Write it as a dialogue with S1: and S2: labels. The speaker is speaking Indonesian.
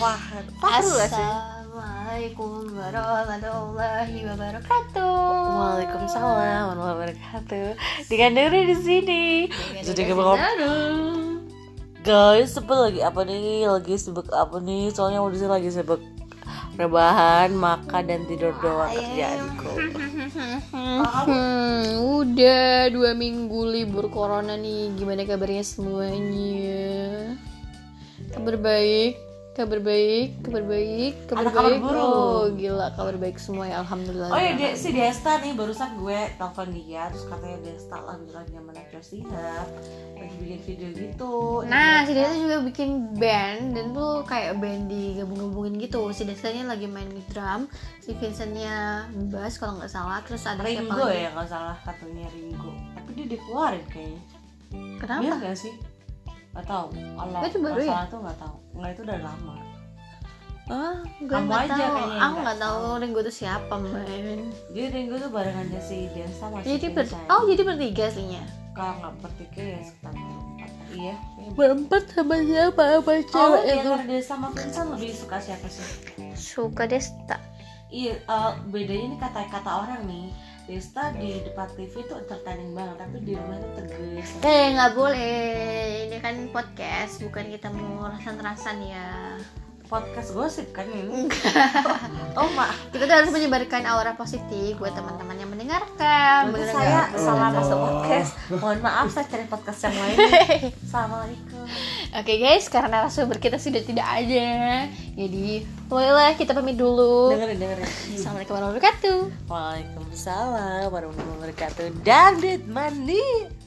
S1: Fahrul Wah Fahrul gak sih?
S2: Assalamualaikum warahmatullahi wabarakatuh.
S1: Waalaikumsalam warahmatullahi wabarakatuh. Dengan Nuri di sini. Jadi gue bakal- Guys, sebel lagi apa nih? Lagi sibuk apa nih? Soalnya waktu itu lagi sibuk rebahan, makan dan tidur doang
S2: Ah, iya.
S1: kerjaanku.
S2: Hmm, udah dua minggu libur corona nih. Gimana kabarnya semuanya? Kabar baik, kabar baik, kabar baik, kabar
S1: Ada kabar
S2: baik.
S1: buruk.
S2: Oh, gila kabar baik semua ya. Alhamdulillah.
S1: Oh iya, De- si Desta nih barusan gue telepon dia terus katanya Desta lagi lagi sama Najwa Shihab ya. lagi bikin video gitu.
S2: Nah, si Desa juga bikin band dan tuh kayak band digabung-gabungin gitu. Si Desanya lagi main drum, si Vincentnya bass kalau nggak salah. Terus ada siapa
S1: Ringo ya
S2: lagi?
S1: kalau salah katanya Ringo. Tapi dia dikeluarin kayaknya. Iya
S2: Kenapa?
S1: gak sih? Gak tau Kalau
S2: Itu baru ya?
S1: masalah tuh gak tau Enggak itu udah lama
S2: Ah, gue
S1: Kamu
S2: nggak
S1: aja
S2: tahu.
S1: kayaknya
S2: Aku
S1: nggak
S2: nggak tahu Ringo tuh siapa, men.
S1: Jadi Ringo tuh barengannya si Desa masih
S2: Jadi ber
S1: Vincent.
S2: oh jadi bertiga aslinya.
S1: Kalau gak bertiga ya sekitar berempat Iya
S2: Oh,
S1: kayaknya
S2: Berempat sama siapa apa
S1: Kalau
S2: iya.
S1: di antara Desa sama Vincent lebih suka siapa sih?
S2: Suka Desta.
S1: Iya, eh, bedanya ini kata-kata orang nih Desta di depan TV tuh entertaining banget Tapi di rumah tuh tegas
S2: Eh nggak boleh. Ini kan podcast, bukan kita mau rasan-rasan ya.
S1: Podcast gosip kan ini Oh mak
S2: kita tuh harus menyebarkan aura positif buat teman-teman yang mendengarkan.
S1: Berarti
S2: Bener
S1: saya
S2: nggak? Oh,
S1: salah masuk podcast Mohon maaf saya cari podcast yang lain Assalamualaikum
S2: Oke guys, karena narasumber kita sudah tidak ada, jadi bolehlah kita pamit dulu.
S1: dengerin dengerin
S2: Assalamualaikum warahmatullahi wabarakatuh.
S1: Waalaikumsalam warahmatullahi wabarakatuh David Mandi